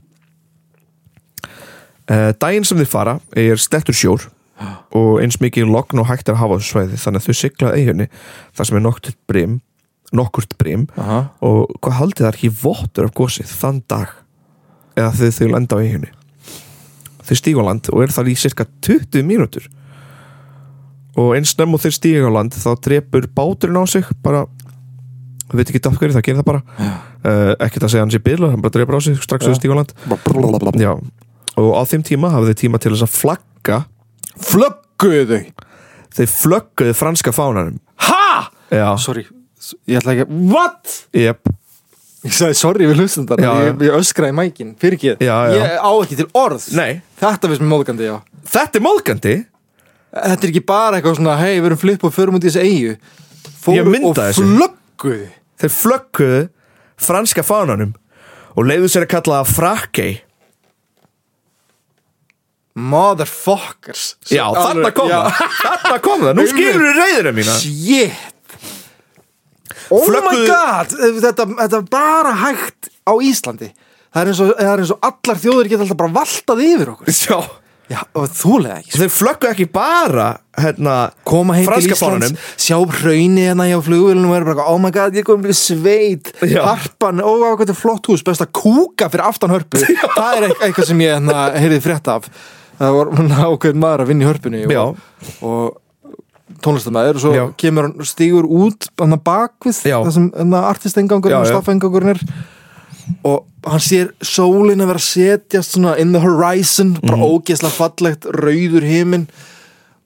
[SPEAKER 1] uh, daginn sem þið fara er slettur sjór og eins mikið logn og hægt er að hafa á þessu svæði þannig að þau siglaði eiginni þar sem er nokkurt brim nokkurt brim
[SPEAKER 2] Aha.
[SPEAKER 1] og hvað haldið þar ekki vottur af gósið þann dag eða þau, þau lenda á eiginni þau stíg á land og er þar í cirka 20 mínútur og eins nefn og þeir stíg á land þá drepur báturinn á sig bara við veit ekki af hverju það gerir það bara uh, ekkert að segja hann sé byrla, hann bara drepur á sig strax
[SPEAKER 2] Já.
[SPEAKER 1] þau stíg á land
[SPEAKER 2] Blablabla.
[SPEAKER 1] Já. og á þeim tíma hafið þau tíma til þess að flagga
[SPEAKER 2] flögguðu þau
[SPEAKER 1] þeir flögguðu franska fánanum
[SPEAKER 2] ha?
[SPEAKER 1] Já,
[SPEAKER 2] sorry, s- ég ætla ekki að what?
[SPEAKER 1] yep.
[SPEAKER 2] Ég sagði sorry við hlustandar
[SPEAKER 1] Já, já.
[SPEAKER 2] ég, ég öskraði mækin, fyrir ekki
[SPEAKER 1] Já, já.
[SPEAKER 2] Ég á ekki til orð
[SPEAKER 1] Nei,
[SPEAKER 2] Þetta finnst mér móðgandi, já
[SPEAKER 1] þetta er móðgandi
[SPEAKER 2] Þetta er ekki bara eitthvað svona, hei, við erum flipp og förum út í þessu eigu
[SPEAKER 1] Ég
[SPEAKER 2] Fóru
[SPEAKER 1] mynda
[SPEAKER 2] og
[SPEAKER 1] þessu.
[SPEAKER 2] flögguðu
[SPEAKER 1] Þeir flögguðu franska fánanum og leiðu sér að kalla það frakkei
[SPEAKER 2] Motherfuckers
[SPEAKER 1] Já, þarna kom það Þarna kom
[SPEAKER 2] [LAUGHS]
[SPEAKER 1] það, nú skilur við reyðina mína
[SPEAKER 2] Shit Oh
[SPEAKER 1] Flögguðu-
[SPEAKER 2] my god þetta, þetta er bara hægt á Íslandi Það er eins og, það er eins og allar þjóður geta alltaf bara valtað yfir okkur
[SPEAKER 1] Já,
[SPEAKER 2] [LAUGHS] Já, og þúlega ekki sko.
[SPEAKER 1] þeir flögguðu ekki bara hérna,
[SPEAKER 2] Koma heim til
[SPEAKER 1] franska
[SPEAKER 2] Íslands,
[SPEAKER 1] fánanum
[SPEAKER 2] sjá hraunið hérna hjá flugvélunum og er bara, eitthvað, oh my god, ég kom við sveit
[SPEAKER 1] Já.
[SPEAKER 2] Harpan, ó, hvað þetta er flott hús best að kúka fyrir aftan hörpu Það er eit- eitthvað sem ég hérna, heyrði frétt af Það var ákveðin maður að vinna í hörpunni
[SPEAKER 1] Já.
[SPEAKER 2] og, og tónlistamæður og svo
[SPEAKER 1] Já.
[SPEAKER 2] kemur hann stígur út hann bakvið,
[SPEAKER 1] Já.
[SPEAKER 2] það sem hérna, artistengangurinn og
[SPEAKER 1] Já, já.
[SPEAKER 2] staffengangurinn er og hann sér sólin að vera að setjast svona in the horizon
[SPEAKER 1] Mhm.
[SPEAKER 2] bara ógeðslega fallegt, rauður himin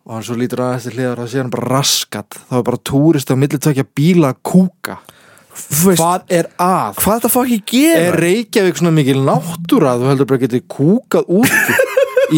[SPEAKER 2] og hann svo lítur aðeins til hliðar og það sé hann bara raskat það var bara túrist á millitökja bíla að kúka
[SPEAKER 1] Þú veist,
[SPEAKER 2] hvað er að?
[SPEAKER 1] Hvað þetta fá ekki gera?
[SPEAKER 2] er Reykjavík svona mikil náttúra að þú heldur bara getið kúkað út í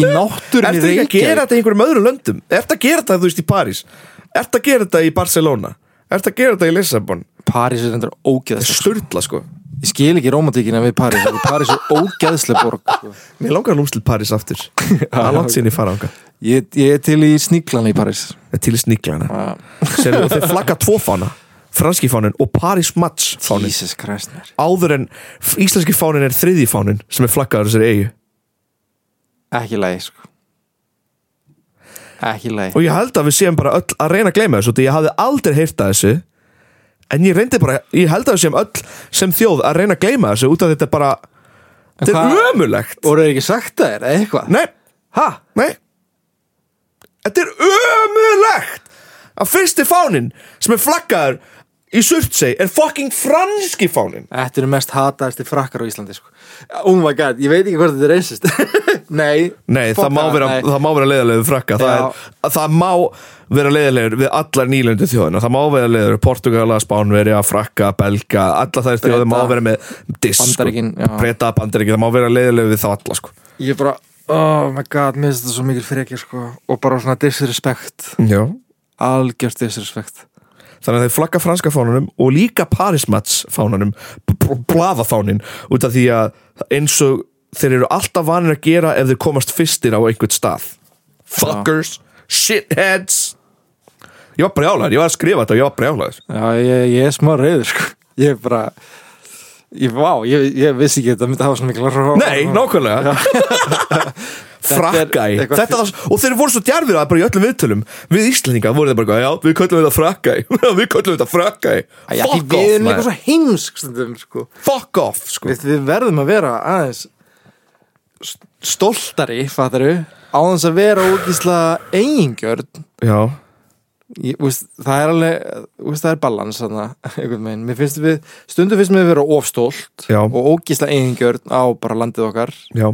[SPEAKER 1] Ertu
[SPEAKER 2] náttúrunni
[SPEAKER 1] ekki að
[SPEAKER 2] Reykjavík
[SPEAKER 1] gera þetta í einhverjum öðrum löndum? Ertu að gera þetta, þú veist, í París? Ertu að gera þetta í Barcelona? Ertu að gera þetta í Lissabon?
[SPEAKER 2] París er endur ógeðslega
[SPEAKER 1] Sturla, sko
[SPEAKER 2] ég skil ekki romantíkina við París af því París er ógeðslega borg sko.
[SPEAKER 1] Mér langar að lúmst til París aftur Það er langt síðan ég fara ánga
[SPEAKER 2] ég, ég er til í sníklan í París
[SPEAKER 1] Það er til í sníklana Sem og þeir flagga tvo fána Franski fánin og París Match fánin
[SPEAKER 2] Jesus Christ mér
[SPEAKER 1] Áður en f- íslenski fánin er þriðji fánin Sem er flaggaður þessari eigu
[SPEAKER 2] ekki lægi sko ekki lægi
[SPEAKER 1] Og ég held að við séum bara öll að reyna að gleyma þessu Því ég hafði aldrei heyrt að þessu En ég reyndi bara, ég held að við séum öll Sem þjóð að reyna að gleyma þessu Út af þetta er bara, þetta er ömulegt
[SPEAKER 2] og eru ekki sagt það er eitthvað
[SPEAKER 1] Nei, hæ, nei Þetta er ömulegt að fyrsti fáninn sem er flaggaður í Surtsey er fucking franski fáninn
[SPEAKER 2] Þetta eru mest hataðasti frakkar á Íslandi sko. Oh my god, ég veit ekki hvort þetta er einsist [LAUGHS] Nei
[SPEAKER 1] Nei,
[SPEAKER 2] fuck
[SPEAKER 1] það má, vera,
[SPEAKER 2] nei.
[SPEAKER 1] það má vera leiðarlegur frakka það,
[SPEAKER 2] Já.
[SPEAKER 1] er, að það má vera leiðarlegur við allar nýlöndu þjóðina Það má vera leiðarlegur Portugala, Spánverja, frakka, Belga Alla þær þjóði má
[SPEAKER 2] Breta.
[SPEAKER 1] vera með disk sko.
[SPEAKER 2] Bandaríkin, já.
[SPEAKER 1] Breta, Bandaríkin, það má vera leiðarlegur við þá alla sko.
[SPEAKER 2] Ég bara, oh my god, mér finnst þetta svo mikil frekja sko. Og bara svona disrespect
[SPEAKER 1] Já
[SPEAKER 2] Algjört disrespect
[SPEAKER 1] Þannig að þeir flagga franska fánanum og líka Paris Match fánanum P- blaðafánin út af því að eins og þeir eru alltaf vanir að gera ef þeir komast fyrstir á einhvern stað fuckers, shitheads ég var brjálaður, ég var að skrifa þetta og ég var brjálaður
[SPEAKER 2] Já, ég, ég er smá reyður sko. Ég er bara Ég, vá, ég, ég vissi ekki að þetta myndi hafa svona mikla rá
[SPEAKER 1] Nei, nákvæmlega Frakkæ
[SPEAKER 2] Þetta er eitthvað-
[SPEAKER 1] Þetta var, og þeir voru svo djarfir að bara í öllum viðtölum Við Íslendinga voru þeir bara eitthvað, Já, við köllum þetta [LAUGHS] frakkæ Við köllum þetta frakkæ
[SPEAKER 2] Æ, ekki,
[SPEAKER 1] Fuck
[SPEAKER 2] Við
[SPEAKER 1] off,
[SPEAKER 2] erum eitthvað
[SPEAKER 1] maður.
[SPEAKER 2] svo heimsk stundum, sko.
[SPEAKER 1] fuck off sko.
[SPEAKER 2] við, við verðum að vera aðeins st- stoltari, fattaru á þess að vera ógísla eigingjörn
[SPEAKER 1] Já,
[SPEAKER 2] Ég, veist, það er alveg veist, það er balans þarna, einhvern veginn. Mér finnst við, stundum finnst mér að vera ofstólt
[SPEAKER 1] Já.
[SPEAKER 2] og ógísla eigingjörn á bara landið okkar
[SPEAKER 1] já,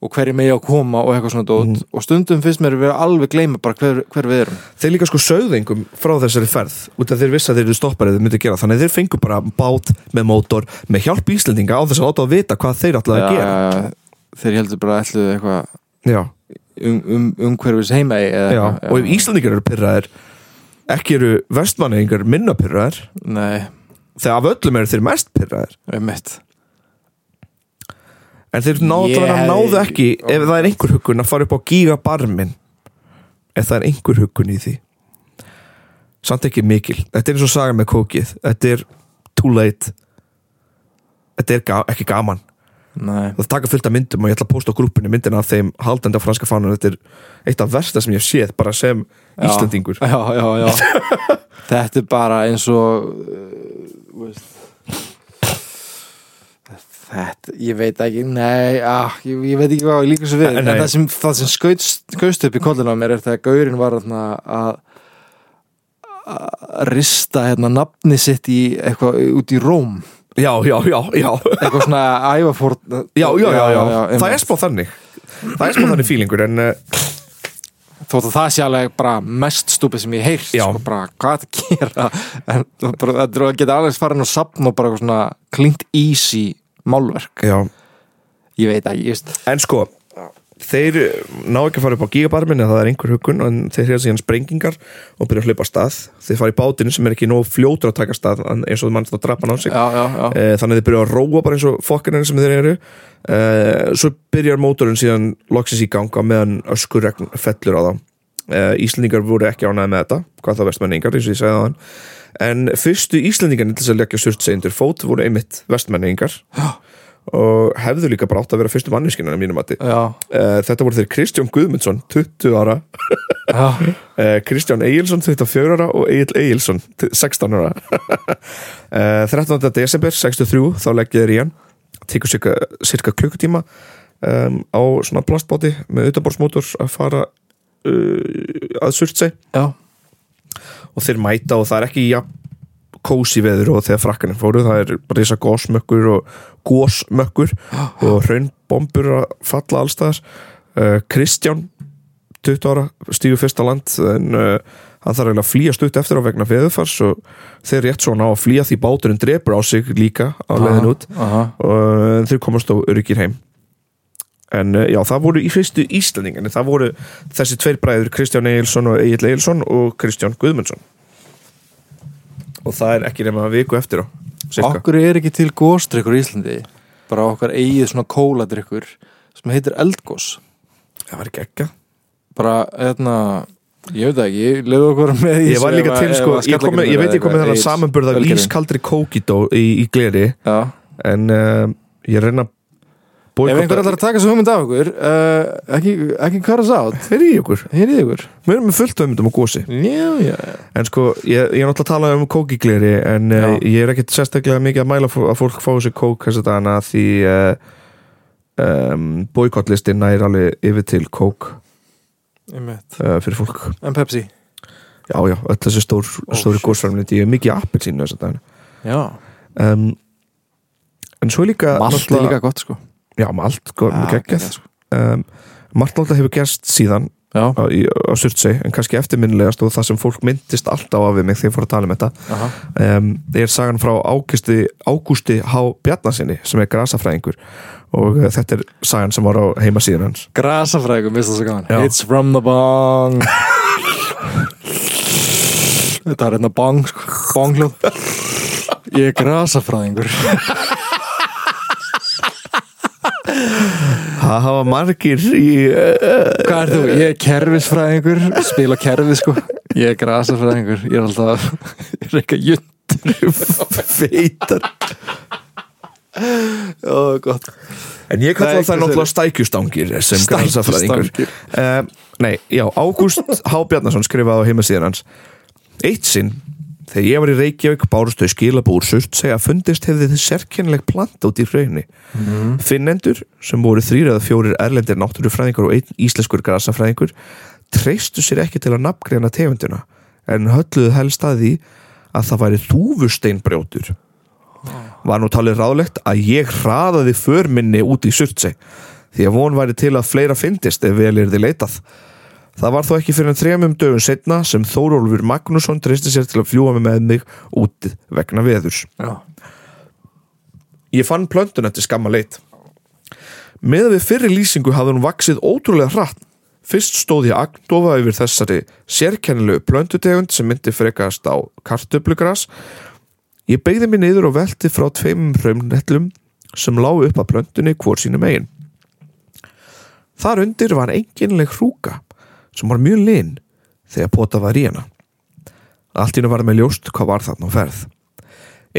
[SPEAKER 2] og hverju megi að koma og eitthvað svona dót
[SPEAKER 1] Mhm.
[SPEAKER 2] og stundum finnst mér að vera alveg gleyma bara hver, hver við erum
[SPEAKER 1] þeir líka sko sögðingum frá þessari ferð út af þeir vissu að þeir eru stoppar eða þeir myndi gera þannig að þeir fengu bara bát með mótor með hjálp Íslendinga á þess að láta að vita hvað þeir ætlaði að gera
[SPEAKER 2] ja, þeir heldur bara ætluðu eitthvað
[SPEAKER 1] Já,
[SPEAKER 2] um, um, umhverfis heima eða,
[SPEAKER 1] já, og ef Íslendingar eru pyrraðir ekki eru vestmanningar minna pyrraðir
[SPEAKER 2] nei,
[SPEAKER 1] þegar af öllum eru þeir mest pyrraðir
[SPEAKER 2] um mitt
[SPEAKER 1] En þeir náðu, yeah.
[SPEAKER 2] Ég-
[SPEAKER 1] náðu ekki ef það er einhver huggun að fara upp á gigabarmin ef það er einhver huggun í því samt ekki mikil þetta er eins og saga með kókið þetta er too late þetta er ga ekki gaman
[SPEAKER 2] nei,
[SPEAKER 1] það taka fullt af myndum og ég ætla að posta á grúpunni myndina af þeim haldandi af franska fánum þetta er eitt af versta sem ég hef séð bara sem
[SPEAKER 2] Já.
[SPEAKER 1] Íslandingur
[SPEAKER 2] já, já, já
[SPEAKER 1] [LAUGHS]
[SPEAKER 2] þetta er bara eins og uh, veist Þetta, ég veit ekki, nei, ah, ég, ég veit ekki hvað ég líka svo við,
[SPEAKER 1] Nei.
[SPEAKER 2] en það sem, það sem skaust, skaust upp í kollinu á mér er þegar Gaurin var þarna að að rista hérna nafni sitt í eitthvað út í Róm
[SPEAKER 1] já, já, já, já
[SPEAKER 2] eitthvað svona ævafórt já,
[SPEAKER 1] Já, já, já, já, það
[SPEAKER 2] einmitt.
[SPEAKER 1] er spá þannig Það er spá þannig fílingur en uh,
[SPEAKER 2] þótt að það sé alveg bara mest stúpið sem ég heyrst
[SPEAKER 1] Já.
[SPEAKER 2] sko, bara hvað að gera [LAUGHS] en þú bara, þetta er að geta alveg farin og sapna og bara eitthvað svona klint easy málverk,
[SPEAKER 1] Já,
[SPEAKER 2] ég veit ekki ég veist,
[SPEAKER 1] En sko, þeir eh, ná ekki að fara upp á gigabarmin eða það er einhver huggun en þeir hefða síðan sprengingar og byrja að hlaupa af stað þeir fara í bátinu sem er ekki nóg fljótur að taka stað en eins og mann það drapa hann á sig
[SPEAKER 2] já, já, já,
[SPEAKER 1] Eh, þannig að þeir byrja að róa bara eins og fokkarinn sem þeir eru Eh, svo byrjar mótorinn síðan loksins í ganga meðan öskurregn fellur á þá Eh, Íslendingar voru ekki ánæði með þetta hvað þá vestmenningar eins og ég segði á en fyrstu Íslendingarnir til þess að leggja surtseg undir fót voru einmitt vestmenningar og hefðu líka bara átt að vera fyrstu manniskinnar mínum að
[SPEAKER 2] já,
[SPEAKER 1] Eh, þetta voru þeir Kristján Guðmundsson 20 ára,
[SPEAKER 2] já.
[SPEAKER 1] eh, Kristján Egilson 24 ára og Egil Egilson 16 ára [LAUGHS] Eh, 13. desember 63 þá leggja þeir í hann tekur cirka, cirka klukkutíma um, á svona plastbáti með utanbórsmótor að fara uh, að surtseg
[SPEAKER 2] já.
[SPEAKER 1] og þeir mæta og það er ekki ja, kósi veður og þegar frakkanir fóru það er bara þess að gósmökkur og gósmökkur og hraunbombur að falla allstaðar uh, Kristján 20 ára stígur fyrsta land en uh, hann þarf eiginlega að flýja stutt eftir á vegna veðurfars og þeir rétt svona á að flýja því báturinn drepur á sig líka á leiðin út
[SPEAKER 2] aha.
[SPEAKER 1] og uh, þeir komast á öryggir heim en uh, já, það voru í fyrstu Íslandingan það voru þessi tveir bræður Kristján Egilson og Egil Egilson og Kristján Guðmundsson og það er ekki nema viku eftir á cirka.
[SPEAKER 2] okkur er ekki til góstrykkur í Íslandi bara okkar eigið svona kóladrykkur sem heitir eldgós
[SPEAKER 1] það var ekki ekki
[SPEAKER 2] bara, hérna ég veit það ekki, leiðu okkur með í
[SPEAKER 1] ég var
[SPEAKER 2] þessu
[SPEAKER 1] líka
[SPEAKER 2] ef að-
[SPEAKER 1] til
[SPEAKER 2] ef
[SPEAKER 1] sko, ég,
[SPEAKER 2] að
[SPEAKER 1] kom, með-
[SPEAKER 2] skellagrinnur
[SPEAKER 1] ég veit
[SPEAKER 2] eða
[SPEAKER 1] ég kom með
[SPEAKER 2] eitthvað,
[SPEAKER 1] þennan
[SPEAKER 2] Egils-
[SPEAKER 1] samanburð af
[SPEAKER 2] Ölgerðin.
[SPEAKER 1] ískaldri kókidó í, í gleri
[SPEAKER 2] já,
[SPEAKER 1] en uh, ég reyna að
[SPEAKER 2] Ef einhver ætlar að taka þessu hugmynd af okkur uh, ekki, ekki kvara sátt
[SPEAKER 1] Hver í okkur?
[SPEAKER 2] Heyrið ykkur
[SPEAKER 1] Við erum með fullt öfmyndum á gósi
[SPEAKER 2] Já, já
[SPEAKER 1] En sko, ég, ég er náttúrulega að tala um kókigleri en uh,
[SPEAKER 2] Já.
[SPEAKER 1] ég er ekkit sérstaklega mikið að mæla fó- að fólk fá sér kók þess að dana því uh, um, boykottlistin nær alveg yfir til kók
[SPEAKER 2] Einmitt.
[SPEAKER 1] uh, fyrir fólk.
[SPEAKER 2] En Pepsi
[SPEAKER 1] Já, já, öll þessi stór,
[SPEAKER 2] Ó,
[SPEAKER 1] stóri
[SPEAKER 2] Oh, shit.
[SPEAKER 1] gósframlindi, ég er mikið appelsínu þess að dana.
[SPEAKER 2] Já
[SPEAKER 1] Um, en svo er líka...
[SPEAKER 2] Malt er
[SPEAKER 1] náttúrulega-
[SPEAKER 2] líka gott sko
[SPEAKER 1] Já, malt, góð,
[SPEAKER 2] Já,
[SPEAKER 1] ja, geggjað.
[SPEAKER 2] geggjað, sko.
[SPEAKER 1] Um, margt náttúrulega hefur gerst síðan
[SPEAKER 2] Já,
[SPEAKER 1] á, í, á Surtsey, en kannski eftirminnilegast og það sem fólk myndist alltaf af við mig þegar ég fór að tala um þetta
[SPEAKER 2] aha
[SPEAKER 1] um, er sagan frá Águsti, Águsti H. Bjarnasinni sem er grasafræðingur og uh, þetta er sagan sem var á heimasíðan hans
[SPEAKER 2] Grasafræðingum, veist það svo gaman
[SPEAKER 1] Já.
[SPEAKER 2] It's from the bong Þetta er hérna bong sko Bongljóð Ég er grasafræðingur
[SPEAKER 1] Það hafa margir í uh,
[SPEAKER 2] Hvað er þú? Ég er kerfisfræðingur Spila kerfi sko Ég er grasafræðingur Ég er alltaf Ég er eitthvað jundur
[SPEAKER 1] [LAUGHS] feitar
[SPEAKER 2] Ó, gott
[SPEAKER 1] En ég kalla
[SPEAKER 2] Nei,
[SPEAKER 1] það
[SPEAKER 2] hvað
[SPEAKER 1] náttúrulega stækjustangir sem grasafræðingur
[SPEAKER 2] Stangir.
[SPEAKER 1] uh, Nei, já, Ágúst H. Bjarnason skrifaði á heimasíðan hans Eitt sinn, þegar ég var í Reykjavík bárstu skilabúr surt segja að fundist hefði þið sérkennileg plant út í hraunni
[SPEAKER 2] Mhm.
[SPEAKER 1] Finnendur, sem voru þrýr eða fjórir erlendir náttúrufræðingur og einn íslenskur grasafræðingur treystu sér ekki til að nafngreina tegundina en hölluðu helst að því að það væri þúfusteinbrjótur var nú talið ráðlegt að ég hraðaði för minni út í surtseg því að von væri til að fleira fyndist ef vel er þið leitað. Það var þó ekki fyrir en þremum dögum setna sem Þórólfur Magnússon treysti sér til að fljúa mig með mig út vegna veðurs.
[SPEAKER 2] Já
[SPEAKER 1] Ég fann plöntun eftir skamma leit. Með við fyrri lýsingu hafði hún vaksið ótrúlega hratt. Fyrst stóð ég agndofa yfir þessari sérkennilegu plöntutegund sem myndi frekast á kartöflugras. Ég beigði mig niður og velti frá tveimum hraumnettlum sem lágu upp að plöntunni hvort sínum eigin. Þar undir var enginleg hrúka sem var mjög linn þegar pota var í hana. Allt í hennu var með ljóst hvað var þarna á ferð.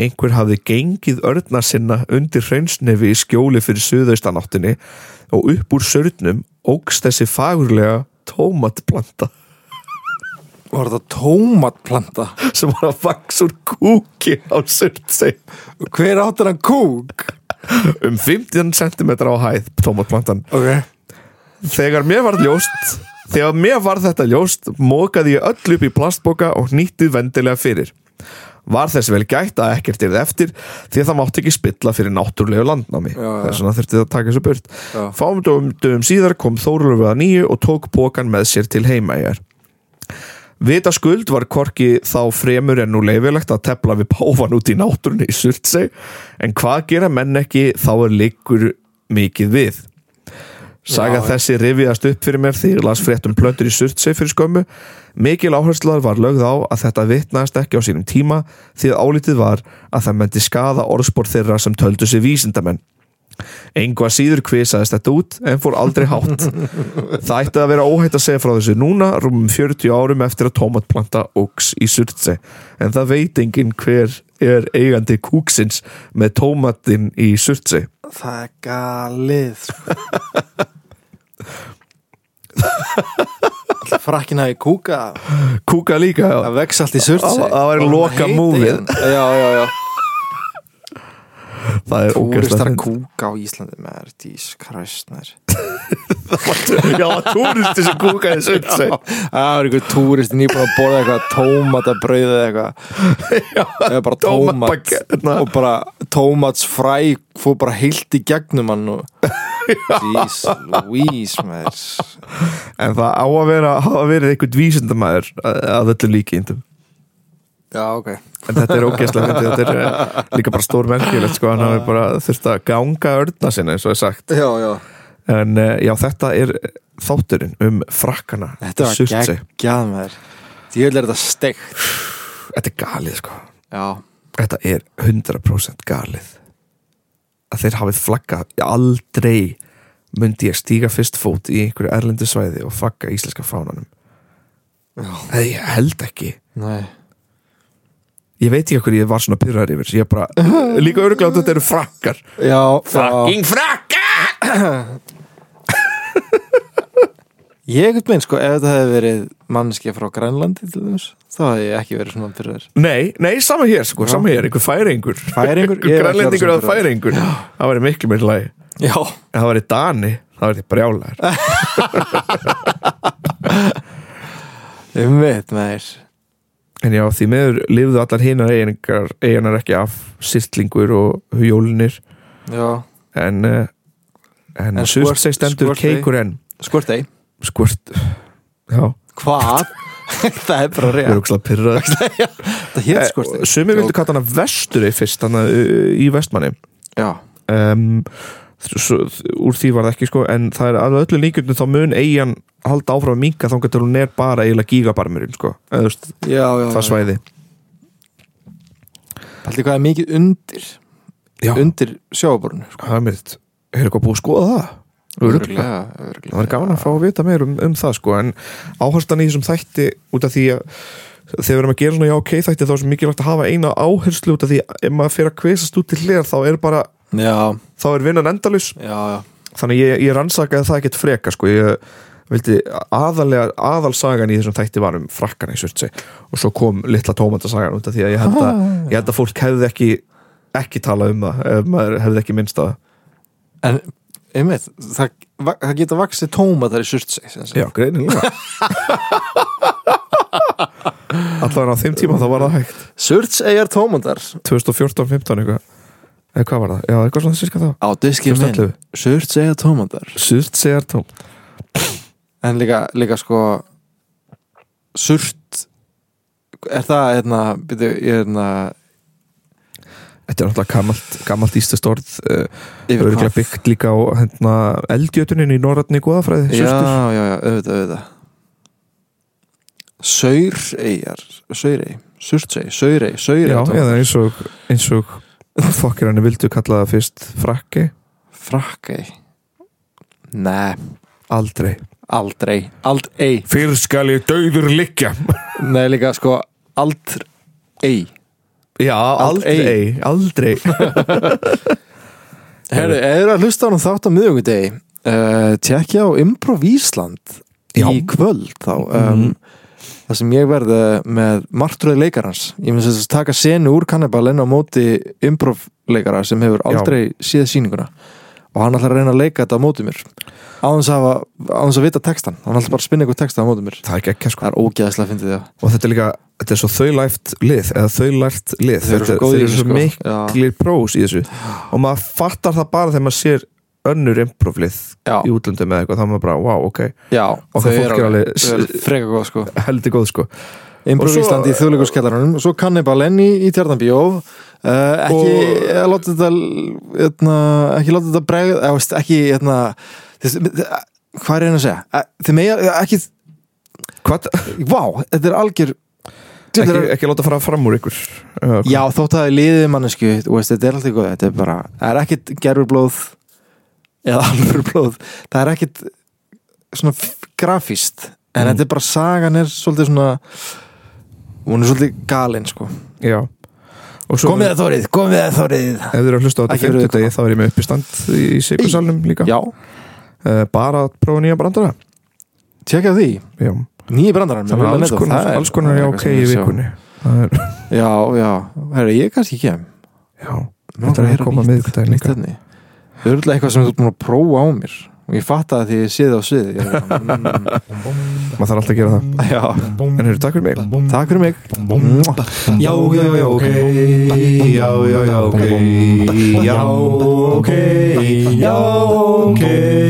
[SPEAKER 1] Einhver hafði gengið örna sinna undir hreinsnefi í skjóli fyrir suðaustanáttinni og upp úr sörnum ógst þessi fagurlega tómatplanta [LAUGHS]
[SPEAKER 2] Var þetta tómatplanta?
[SPEAKER 1] sem var að vaks úr kúki á sörnsei
[SPEAKER 2] Hver áttur hann kúk?
[SPEAKER 1] um 15 cm á hæð tómatplantan.
[SPEAKER 2] Ok
[SPEAKER 1] Þegar mér varð ljóst Þegar mér varð þetta ljóst mókaði ég öll upp í plastboka og nýttið vendilega fyrir Var þess vel gætt að ekkert er eftir því að það mátti ekki spilla fyrir náttúrulegu landnámi
[SPEAKER 2] Já, já.
[SPEAKER 1] þess vegna þurfti það að taka þessu burt
[SPEAKER 2] Já.
[SPEAKER 1] Fáum dögum, dögum síðar kom Þórulur við að nýju og tók bokan með sér til heimaegjar Vitaskuld var korki þá fremur en nú leifilegt að tepla við páfan út í náttúrunni í Surtsey en hvað gera menn ekki þá er liggur mikið við Saga
[SPEAKER 2] Já.
[SPEAKER 1] þessi rifiðast upp fyrir mér því ég las frétt um plöndur í Surtsey fyrir skömmu Mikil áherslar var lögð á að þetta vitnaðist ekki á sínum tíma því að álítið var að það myndi skaða orðspor þeirra sem töldu sig vísindamenn Engu að síður kvisaðist þetta út en fór aldrei
[SPEAKER 2] [LAUGHS]
[SPEAKER 1] hátt Það ætti að vera óhætt að segja frá þessu núna rúmum 40 árum eftir að tómatplanta óks í surtse en það veit enginn hver er eigandi kúksins með tómatinn í surtse
[SPEAKER 2] Það er galið sko. Ætli Frakkinn hafi kúka
[SPEAKER 1] Kúka líka
[SPEAKER 2] Það vex allt í surt
[SPEAKER 1] Það- það væri loka múfið.
[SPEAKER 2] hérna. Já, já, já
[SPEAKER 1] Það er ógæslega
[SPEAKER 2] Túristar að
[SPEAKER 1] fyndið.
[SPEAKER 2] kúka á Íslandi með Jesus Christ nær.
[SPEAKER 1] Já, túristi sem kúka í surtse
[SPEAKER 2] Það var einhver túrist nýbúin að borða eitthvað tómatabrauð eða eitthvað eða bara tómat
[SPEAKER 1] tómatbakk, hérna.
[SPEAKER 2] og bara tómatsfræ fór bara heilt í gegnum hann [LAUGHS] og Jeez Louise maður
[SPEAKER 1] En það á að vera, hafa verið einhvern vísindamæður að að öllum líkindum
[SPEAKER 2] Já, ok
[SPEAKER 1] En þetta er ógæslega myndið, þetta er eh, líka bara stór merkilegt sko, hann hafi bara þurft að ganga örna sinna eins og er sagt
[SPEAKER 2] Já, já
[SPEAKER 1] En eh, já, þetta er þátturinn um frakkana
[SPEAKER 2] Þetta var
[SPEAKER 1] Surtsey.
[SPEAKER 2] geggjað maður Því vil er þetta steikt
[SPEAKER 1] Þetta er galið sko
[SPEAKER 2] Já
[SPEAKER 1] Þetta er 100% galið Að þeir hafið flaggað Aldrei myndi ég stíga fyrst fót í einhverju erlendu svæði og flagga íslenska fánanum Nei, ég held ekki
[SPEAKER 2] Nei
[SPEAKER 1] Ég veit ekki okkur ég var svona pyrrar yfir Ég bara,
[SPEAKER 2] [LAUGHS]
[SPEAKER 1] líka öruglega þetta eru frakkar
[SPEAKER 2] Já já.
[SPEAKER 1] frakka
[SPEAKER 2] Ég ekkert meinn sko ef þetta hefði verið mannskja frá Grænlandi til þess þá hefði ég ekki verið svona fyrir þér
[SPEAKER 1] Nei, nei, sama hér sko,
[SPEAKER 2] Já.
[SPEAKER 1] sama hér, einhver færingur [LAUGHS]
[SPEAKER 2] Færingur?
[SPEAKER 1] Einhver
[SPEAKER 2] Ég er ekki að
[SPEAKER 1] grænlendingur
[SPEAKER 2] hugsa um
[SPEAKER 1] eða færingur Það væri miklu mér lagi
[SPEAKER 2] Já
[SPEAKER 1] Ef það væri Dani, það væri brjálæður
[SPEAKER 2] Ég veit Um maður
[SPEAKER 1] En já, því meður lifðu allar hinar eigingar, eiginar ekki af sýrtlingur og hjólinir
[SPEAKER 2] Já
[SPEAKER 1] en, eh, en, en
[SPEAKER 2] En skvört-
[SPEAKER 1] Surtsey stendur
[SPEAKER 2] skvörtey.
[SPEAKER 1] keikur enn
[SPEAKER 2] Skvort ei
[SPEAKER 1] Skvört Já,
[SPEAKER 2] Hvað? [LAUGHS] það er bara
[SPEAKER 1] ég er
[SPEAKER 2] rétt Eh,
[SPEAKER 1] ógslag pyrrað
[SPEAKER 2] Það hétt skvort ei
[SPEAKER 1] Sumi vildu kalla hana vesturi fyrst hana, uh, í vestmanni
[SPEAKER 2] Já
[SPEAKER 1] um, svo, úr því var það ekki sko en það er að öllu líkjöndum þá mun eigin halda áfram að minka þá getur hún er bara eiginlega gígabarmurinn sko, eða þú veist,
[SPEAKER 2] Já, já
[SPEAKER 1] það svæði
[SPEAKER 2] Paldi hvað er mikið undir
[SPEAKER 1] Já,
[SPEAKER 2] Undir sjáaborinu sko.
[SPEAKER 1] það er mitt Er eitthvað búið að skoða það? Örugglega.
[SPEAKER 2] örugglega.
[SPEAKER 1] Það var gaman að fá að vita meir um, um það sko en áherslan í þessum þætti út af því að þegar við erum að gera svona já ok þætti þá er svo mikilvægt að hafa eina áherslu út af því að ef maður fyrir að kvisast út til hliðar þá er bara,
[SPEAKER 2] Já,
[SPEAKER 1] þá er vinnan endalus
[SPEAKER 2] já, já
[SPEAKER 1] þannig ég, ég rannsakaði það ekkert freka sko ég vildi aðalega aðalsagan í þessum þætti var um frakkan í surtsi og svo kom litla tómatasagan út af því að ég held að, ég held að fólk hefði ekki ekki talað um það ef maður hefði ekki minnst að
[SPEAKER 2] En, einmitt, það, va- það geta vaksið tómatar í surtseg
[SPEAKER 1] Já, greinilega [LAUGHS] Allavega á þeim tíma þá var það hægt
[SPEAKER 2] Surtsegar tómatar
[SPEAKER 1] 2014-15 eitthvað Eða hvað var það? Já, eitthvað svona sérska þá
[SPEAKER 2] Á diskið minn
[SPEAKER 1] 2011.
[SPEAKER 2] Surtsegar tómatar
[SPEAKER 1] Surt segjar tóm
[SPEAKER 2] En líka, líka sko Surt Er það, hérna, byrju, ég er hérna
[SPEAKER 1] Þetta er náttúrulega gammalt, gammalt ístast orð uh,
[SPEAKER 2] yfir
[SPEAKER 1] Örgulega
[SPEAKER 2] hvað?
[SPEAKER 1] byggt líka á hérna, eldjötunin í norrætni góðafræði
[SPEAKER 2] Já,
[SPEAKER 1] Surtur
[SPEAKER 2] já, já, auðvitað, auðvitað Saureyjar Saurey, Surtsey, Saurey Saurey,
[SPEAKER 1] Já,
[SPEAKER 2] tómatar.
[SPEAKER 1] eða eins og, eins og fokkir henni vildu kalla það fyrst frakki
[SPEAKER 2] Frakkey Nei,
[SPEAKER 1] Aldrei
[SPEAKER 2] aldrei Aldrei
[SPEAKER 1] Fyrr skal ég dauður liggja
[SPEAKER 2] Nei, líka sko Aldrei
[SPEAKER 1] Já, aldrei, aldrei.
[SPEAKER 2] Herri, ef þú að hlusta á hann þátt á miðugudegi uh, Tjekkja á Improv Ísland
[SPEAKER 1] Já.
[SPEAKER 2] í kvöld þá um, Það sem ég verði með martröði leikarans Ég finnst þess að taka senu úr kannibalinn á móti Improv leikara sem hefur
[SPEAKER 1] Já.
[SPEAKER 2] aldrei séð sýninguna og hann ætlar að reyna að leika þetta á móti mér á þess að, hafa- á þess að vita textan hann ætlar bara að spinna eitthvað texta á móti mér
[SPEAKER 1] Það er ekki sko
[SPEAKER 2] Það er ógeðslega að fyndi því
[SPEAKER 1] og þetta er líka, þetta er svo þaulæft lið eða þaulæft lið
[SPEAKER 2] Þau eru svo
[SPEAKER 1] Þetta-
[SPEAKER 2] góð í
[SPEAKER 1] þeir eru
[SPEAKER 2] þessu,
[SPEAKER 1] svo
[SPEAKER 2] sko.
[SPEAKER 1] miklir prós í þessu og maður fattar það bara þegar maður sér önnur improflið
[SPEAKER 2] Já.
[SPEAKER 1] í útlöndum eða eitthvað, þá er maður bara, wow, ok
[SPEAKER 2] Já,
[SPEAKER 1] Og það fólk er alveg-
[SPEAKER 2] þau eru freka góð sko
[SPEAKER 1] heldur góð sko
[SPEAKER 2] Improv
[SPEAKER 1] Og svo-
[SPEAKER 2] Ísland í þjóðleikurskjallarunum og svo Kannibal enn í, í Tjarnabíó uh, ekki
[SPEAKER 1] Og-
[SPEAKER 2] og... láta þetta etna, ekki láta þetta bregð eða, veist, ekki hérna, etna, þess, hvað er einn að segja Eh, þið megar ekki
[SPEAKER 1] Hvað,
[SPEAKER 2] vá, þetta er algjör
[SPEAKER 1] ekki,
[SPEAKER 2] ekki,
[SPEAKER 1] ekki láta fara fram úr ykkur uh,
[SPEAKER 2] já, þótt að það er liðið mannesku veist, þetta er alltaf góð, þetta er bara það er ekkit gerfurblóð eða [LAUGHS] alvörblóð, það er ekkit svona f- grafíst en
[SPEAKER 1] Mm.
[SPEAKER 2] þetta er bara sagan er svolítið svona hún er svolítið galin sko
[SPEAKER 1] já. og svo
[SPEAKER 2] Komið að þórið, komið að þórið
[SPEAKER 1] ef þeir eru að hlusta á þetta
[SPEAKER 2] Ekki verið
[SPEAKER 1] fyrstu degi þá er ég með uppistand í sigursalnum líka
[SPEAKER 2] Já,
[SPEAKER 1] uh, bara að prófa nýja brandara
[SPEAKER 2] tjekka á því
[SPEAKER 1] já.
[SPEAKER 2] Nýji brandarar
[SPEAKER 1] þannig að alls konar, alls konar já, ok í vikunni það er,
[SPEAKER 2] Já, já, herri, ég kannski kem
[SPEAKER 1] já, þetta er að koma miðvikudaginn líka
[SPEAKER 2] Það er örugglega eitthvað sem þú ert búin að prófa á mér og ég fatt að því ég sé það á sviði Ég er
[SPEAKER 1] [LAUGHS]
[SPEAKER 2] bara, mm,
[SPEAKER 1] maður þarf alltaf að gera það
[SPEAKER 2] Já,
[SPEAKER 1] en hefur takk fyrir mig
[SPEAKER 2] takk fyrir mig
[SPEAKER 1] Já, já, já, ok Já, já, já, ok Já, ok Já, ok